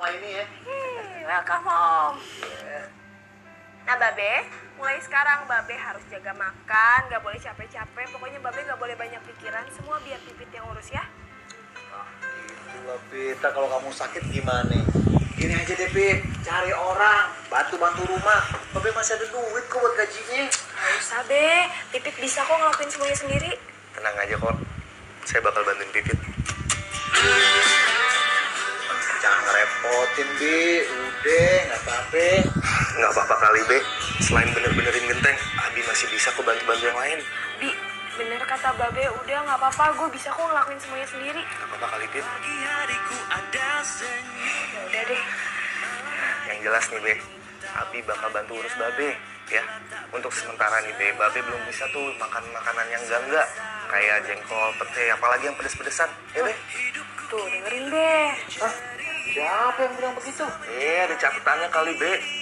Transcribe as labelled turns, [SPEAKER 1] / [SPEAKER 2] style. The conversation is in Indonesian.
[SPEAKER 1] ini ya.
[SPEAKER 2] Welcome home. Nah Babe, mulai sekarang Babe harus jaga makan, gak boleh capek-capek, pokoknya Babe gak boleh banyak pikiran, semua biar Pipit yang urus ya.
[SPEAKER 1] Ah, gitu lah, Pit. Ntar kalau kamu sakit gimana? Gini aja deh, Pit. Cari orang, bantu-bantu rumah. Babe masih ada duit kok buat gajinya.
[SPEAKER 2] Gak usah Be, Pipit bisa kok ngelakuin semuanya sendiri.
[SPEAKER 3] Tenang aja kok, saya bakal bantuin Pipit.
[SPEAKER 1] Jangan ngerepotin, Bi. Udah, nggak apa-apa.
[SPEAKER 3] Nggak apa-apa kali, Be. Selain bener-benerin genteng, Abi masih bisa kok bantu-bantu yang lain.
[SPEAKER 2] Bi, bener kata Babe, udah gak apa-apa, gue bisa kok ngelakuin semuanya sendiri.
[SPEAKER 3] Nggak apa-apa kali, Pip.
[SPEAKER 2] Ya udah deh,
[SPEAKER 3] Yang jelas nih, Be. Abi bakal bantu urus Babe, ya. Untuk sementara nih, Be. Babe belum bisa tuh makan makanan yang enggak enggak. Kayak jengkol, pete, apalagi yang pedes-pedesan.
[SPEAKER 1] Eh,
[SPEAKER 3] Ya, Be?
[SPEAKER 2] tuh dengerin deh.
[SPEAKER 1] Siapa yang bilang begitu?
[SPEAKER 3] Eh, ada catatannya kali, Be.